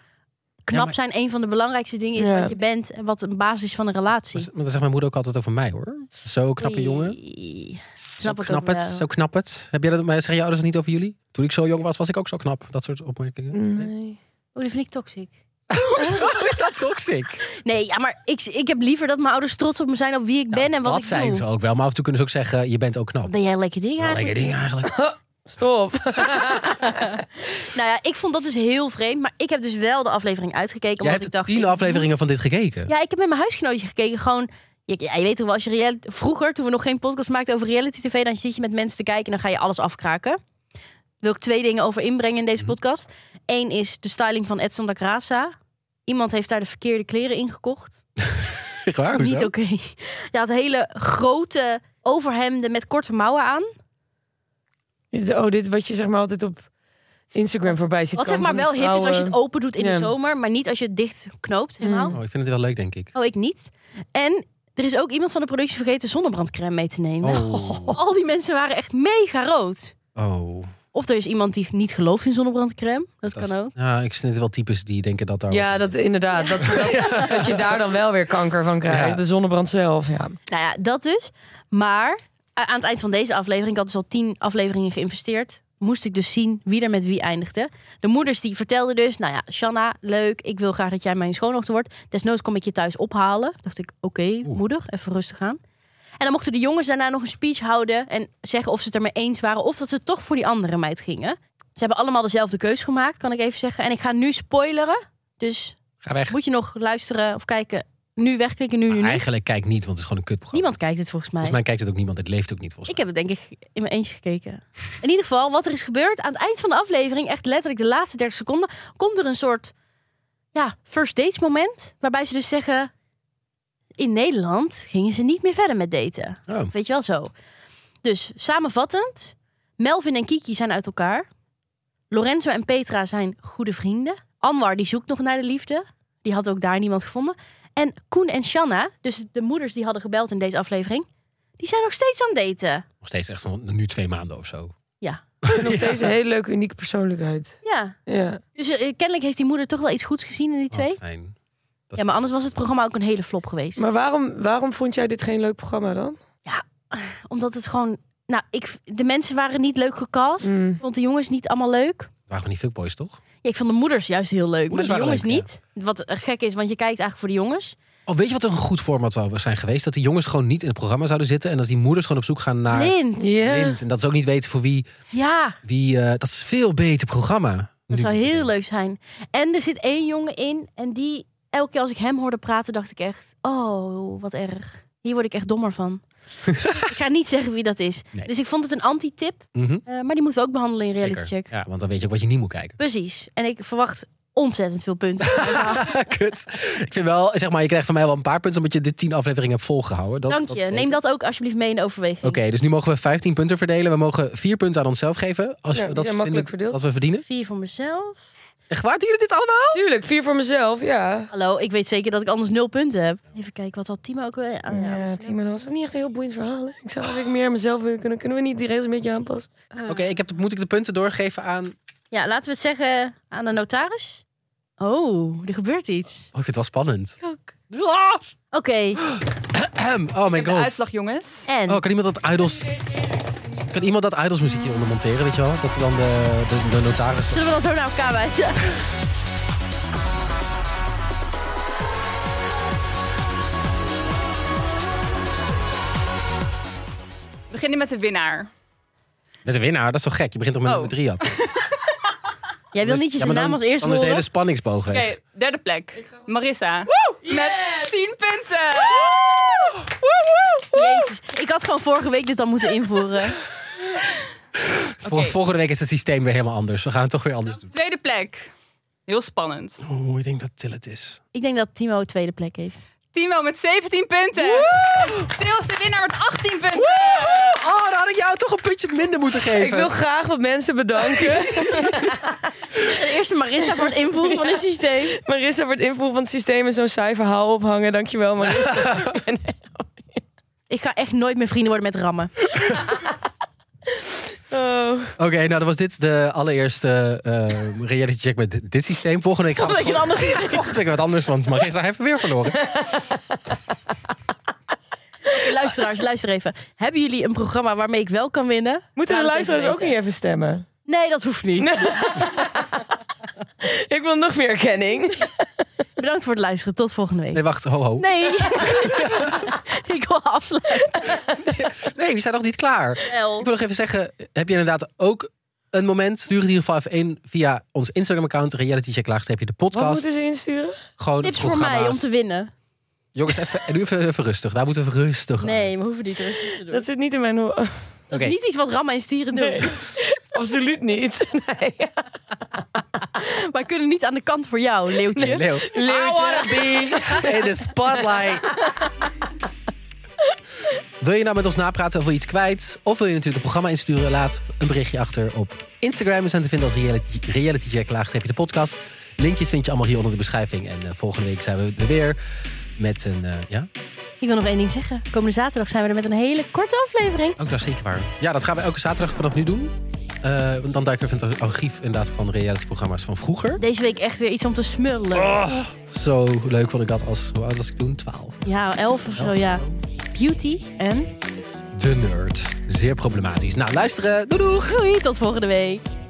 S1: knap
S2: Ja, maar-
S1: zijn een van de belangrijkste dingen is
S3: Ja.
S1: wat je bent en wat een basis is van een relatie.
S2: Maar dat zegt mijn moeder ook altijd over mij hoor. Zo knappe jongen.
S1: Oei.
S2: Zo
S1: Snap ik
S2: knap
S1: ook
S2: het.
S1: wel.
S2: Zo knap het. Heb jij dat, maar zeggen je ouders dat niet over jullie? Toen ik zo jong was, was ik ook zo knap. Dat soort opmerkingen.
S3: Nee.
S1: Oh, die vind ik toxisch.
S2: Hoe is dat toxic?
S1: Nee, ja, maar ik, ik heb liever dat mijn ouders trots op me zijn op wie ik ben en wat
S2: dat
S1: ik
S2: Nou, zijn
S1: doe.
S2: ze ook wel. Maar af en toe kunnen ze ook zeggen, je bent ook knap.
S1: Ben jij een lekker ding
S2: Wel
S1: eigenlijk?
S2: lekker ding eigenlijk.
S3: Stop.
S1: Nou ja, ik vond dat dus heel vreemd. Maar ik heb dus wel de aflevering uitgekeken. Omdat
S2: Jij hebt
S1: ik dacht,
S2: tien
S1: ik
S2: afleveringen van dit gekeken.
S1: Ja, ik heb met mijn huisgenootje gekeken. Gewoon, je, ja, je weet toch wel, als je reali- vroeger, toen we nog geen podcast maakten over reality tv, dan zit je met mensen te kijken en dan ga je alles afkraken. Wil ik twee dingen over inbrengen in deze
S2: Mhm.
S1: podcast. Eén is de styling van Edson da Graça. Iemand heeft daar de verkeerde kleren in gekocht.
S2: Echt waar? Hoezo?
S1: Niet oké. Je had hele grote overhemden met korte mouwen aan.
S3: Oh, dit wat je zeg maar altijd op Instagram voorbij ziet
S1: Wat zeg
S3: komen
S1: maar
S3: van
S1: wel hip is als je
S3: vrouwen.
S1: het open doet in
S3: Ja.
S1: de zomer, maar niet als je het dicht knoopt helemaal.
S2: Oh, ik vind het wel leuk, denk ik.
S1: Oh, ik niet. En er is ook iemand van de productie vergeten zonnebrandcrème mee te nemen.
S2: Oh.
S1: Al die mensen waren echt mega rood.
S2: Oh.
S1: Of er is iemand die niet gelooft in zonnebrandcrème. Dat,
S2: Dat
S1: kan
S2: is-
S1: ook.
S2: Nou, ik vind het wel types die denken dat daar...
S3: Ja, dat inderdaad. Dat, dat, dat je daar dan wel weer kanker van krijgt.
S2: Ja.
S3: De zonnebrand zelf, ja.
S1: Nou ja, dat dus. Maar eh, aan het eind van deze aflevering, ik had dus al tien afleveringen geïnvesteerd, moest ik dus zien wie er met wie eindigde. De moeders die vertelden dus, nou ja, Shanna, leuk, ik wil graag dat jij mijn schoonochter wordt. Desnoods kom ik je thuis ophalen. Dacht ik, oké, moeder, even rustig aan. En dan mochten de jongens daarna nog een speech houden en zeggen of ze het ermee eens waren of dat ze toch voor die andere meid gingen. Ze hebben allemaal dezelfde keus gemaakt, kan ik even zeggen. En ik ga nu spoileren. Dus
S2: Ga weg.
S1: moet je nog luisteren of kijken. Nu wegklikken, nu, nu, nu.
S2: Eigenlijk kijk niet, want het is gewoon een kutprogramma.
S1: Niemand kijkt het volgens mij.
S2: Volgens mij kijkt het ook niemand. Het leeft ook niet volgens
S1: Ik heb het denk ik in mijn eentje gekeken. In ieder geval, wat er is gebeurd aan het eind van de aflevering, echt letterlijk de laatste 30 seconden, komt er een soort ja, first dates moment. Waarbij ze dus zeggen: In Nederland gingen ze niet meer verder met daten.
S2: mij. Oh.
S1: Weet je wel zo. Dus samenvattend: Melvin en Kiki zijn uit elkaar. Lorenzo en Petra zijn goede vrienden. Anwar die zoekt nog naar de liefde. Die had ook daar niemand gevonden. En Koen en Shanna, dus de moeders die hadden gebeld in deze aflevering, die zijn nog steeds aan het daten.
S2: Nog steeds echt zo'n- nu twee maanden of zo. Oh,
S1: Ja.
S3: En nog steeds een hele leuke, unieke persoonlijkheid.
S1: Ja.
S3: Ja.
S1: Dus eh, kennelijk heeft die moeder toch wel iets goeds gezien in die
S2: Oh,
S1: twee.
S2: fijn. Dat-
S1: ja, maar anders was het programma ook een hele flop geweest.
S3: Maar waarom, waarom vond jij dit geen leuk programma dan?
S1: Omdat het gewoon... Nou, ik, de mensen waren niet leuk gecast.
S2: Mm.
S1: Ik vond de jongens niet allemaal leuk.
S2: waren we niet veel boys, toch?
S1: Ja, ik vond de moeders juist heel leuk,
S2: Moeders
S1: maar de
S2: waren
S1: jongens
S2: leuk,
S1: niet. Wat eh, gek is, want je kijkt eigenlijk voor de jongens.
S2: Oh, weet je wat een goed format zou zijn geweest? Dat die jongens gewoon niet in het programma zouden zitten. En dat die moeders gewoon op zoek gaan naar
S1: Lind.
S2: Lind. En dat ze ook niet weten voor wie.
S1: Ja,
S2: wie eh, dat is een veel beter programma.
S1: dat
S2: Nu.
S1: zou heel leuk zijn. En er zit één jongen in en die... Elke keer als ik hem hoorde praten, dacht ik echt... Oh, wat erg. Hier word ik echt dommer van. ik ga niet zeggen wie dat is.
S2: Nee.
S1: Dus ik vond het een anti-tip.
S2: Mhm,
S1: eh, maar die moeten we ook behandelen in Reality
S2: zeker.
S1: Check.
S2: Ja, want dan weet je ook wat je niet moet kijken.
S1: Precies. En ik verwacht ontzettend veel punten.
S2: Kut. Ik vind wel, zeg maar, je krijgt van mij wel een paar punten. omdat je dit tien afleveringen hebt volgehouden. Dat,
S1: Dank
S2: dat
S1: je.
S2: is-
S1: Neem dat ook alsjeblieft mee in de overweging.
S2: Oké, dus nu mogen we 15 punten verdelen. We mogen vier punten aan onszelf geven. Als
S3: Ja,
S2: we
S3: die
S2: dat
S3: zijn
S2: vinden
S3: makkelijk verdeeld.
S2: dat we verdienen.
S1: Vier voor mezelf.
S2: Echt waar? Doen jullie dit allemaal?
S3: Tuurlijk, vier voor mezelf, ja.
S1: Hallo, ik weet zeker dat ik anders nul punten heb. Even kijken, wat had Timo ook weer aan?
S3: Ja,
S1: Ja,
S3: Timo, dat was ook niet echt een heel boeiend verhaal. hè? Ik zou eigenlijk meer aan mezelf willen kunnen. Kunnen we niet die regels een beetje aanpassen?
S1: Ah.
S2: Oké, ik heb, moet ik de punten doorgeven aan... Oh,
S1: Ja, laten we het zeggen aan de notaris. Oh, er gebeurt iets.
S2: ik vind het wel spannend.
S1: Oké,
S2: Ahem. Oh my
S7: De
S2: god.
S7: uitslag, jongens.
S1: en?
S2: Oh, kan iemand dat idols... Kan iemand dat idols muziekje onder monteren, weet je wel? Dat ze dan de, de, de notaris...
S1: Zullen we dan zo naar elkaar wijzen?
S7: beginnen met de winnaar.
S2: Met een winnaar, dat is toch gek? Je begint toch met
S7: Oh.
S2: nummer drie, Jat?
S1: Jij
S2: Dus-
S1: wil niet je zijn naam als eerste
S2: Anders de hele
S1: horen.
S2: spanningsboog
S7: Oké,
S2: weg.
S7: derde plek. Marissa. Met 10 punten.
S1: Jezus, ik had gewoon vorige week dit al moeten invoeren.
S2: Vol- Volgende week is het systeem weer helemaal anders. We gaan het toch weer anders doen.
S7: Tweede plek. Heel spannend.
S2: Oeh, Oh, ik denk dat Till het is.
S1: Ik denk dat Timo tweede plek heeft.
S7: Timo met 17 punten. Theo is de winnaar met 18 punten.
S2: Oh, dan had ik jou toch een puntje minder moeten geven.
S3: Ik wil graag wat mensen bedanken.
S1: De eerste Marissa voor het invoeren van dit systeem.
S3: Marissa voor het invoeren van het systeem en zo'n saai verhaal ophangen. Dankjewel, Marissa.
S1: Ik ga echt nooit meer vrienden worden met rammen.
S3: Oh.
S2: Oké, nou dat was dit de allereerste eh, reality check met dit systeem. Volgende week gaan we
S1: Omdat je een ander
S2: gewoon- volgende week wat anders, want Marissa heeft weer verloren.
S1: Luisteraars, luister even. Hebben jullie een programma waarmee ik wel kan winnen?
S3: Moeten
S1: Laat
S3: de
S1: het
S3: luisteraars
S1: even
S3: ook niet
S1: weten.
S3: even stemmen?
S1: Nee, dat hoeft niet.
S3: Ik wil nog meer erkenning.
S1: Bedankt voor het luisteren. Tot volgende week.
S2: Nee, wacht, ho ho. Nee,
S1: Nee. ik wil afsluiten.
S2: we zijn nog niet klaar. Ik wil nog even zeggen, heb je inderdaad ook een moment? Stuur het in ieder geval even in via ons Instagram-account. Reality check laagstreepje de
S3: Wat
S2: podcast.
S3: moeten ze insturen?
S2: Gewoon
S1: Tips voor mij om te winnen.
S2: Jongens, even, nu even, even rustig. Daar moeten we even rustig aan.
S1: Nee, we hoeven niet rustig te doen.
S3: Dat zit niet in mijn... ho-
S1: Dat is
S2: Oké.
S1: niet iets wat rammen en stieren doen.
S3: Nee. Absoluut niet. Nee.
S1: Maar kunnen niet aan de kant voor jou, Leeuwtje.
S2: Nee, Leo. I wanna be in the spotlight. Wil je nou met ons napraten of wil je iets kwijt? Of wil je natuurlijk een programma insturen? Laat een berichtje achter op Instagram. We zijn te vinden als Reality, reality Check, laagstreepje de podcast. Linkjes vind je allemaal hier onder de beschrijving. En eh, volgende week zijn we er weer met een... eh, ja,
S1: Ik wil nog één ding zeggen. Komende zaterdag zijn we er met een hele korte aflevering.
S2: ook dat is zeker waar. Ja, dat gaan we elke zaterdag vanaf nu doen. Eh, want dan duiken we even in het archief inderdaad van realityprogramma's van vroeger.
S1: Deze week echt weer iets om te smuddelen.
S2: Oh. Zo leuk vond ik dat als... Hoe oud was ik toen? 12.
S1: Ja, elf of zo, ja. Beauty en
S2: De nerd. Zeer problematisch. Nou, luisteren. Doei doeg!
S1: groei. Tot volgende week.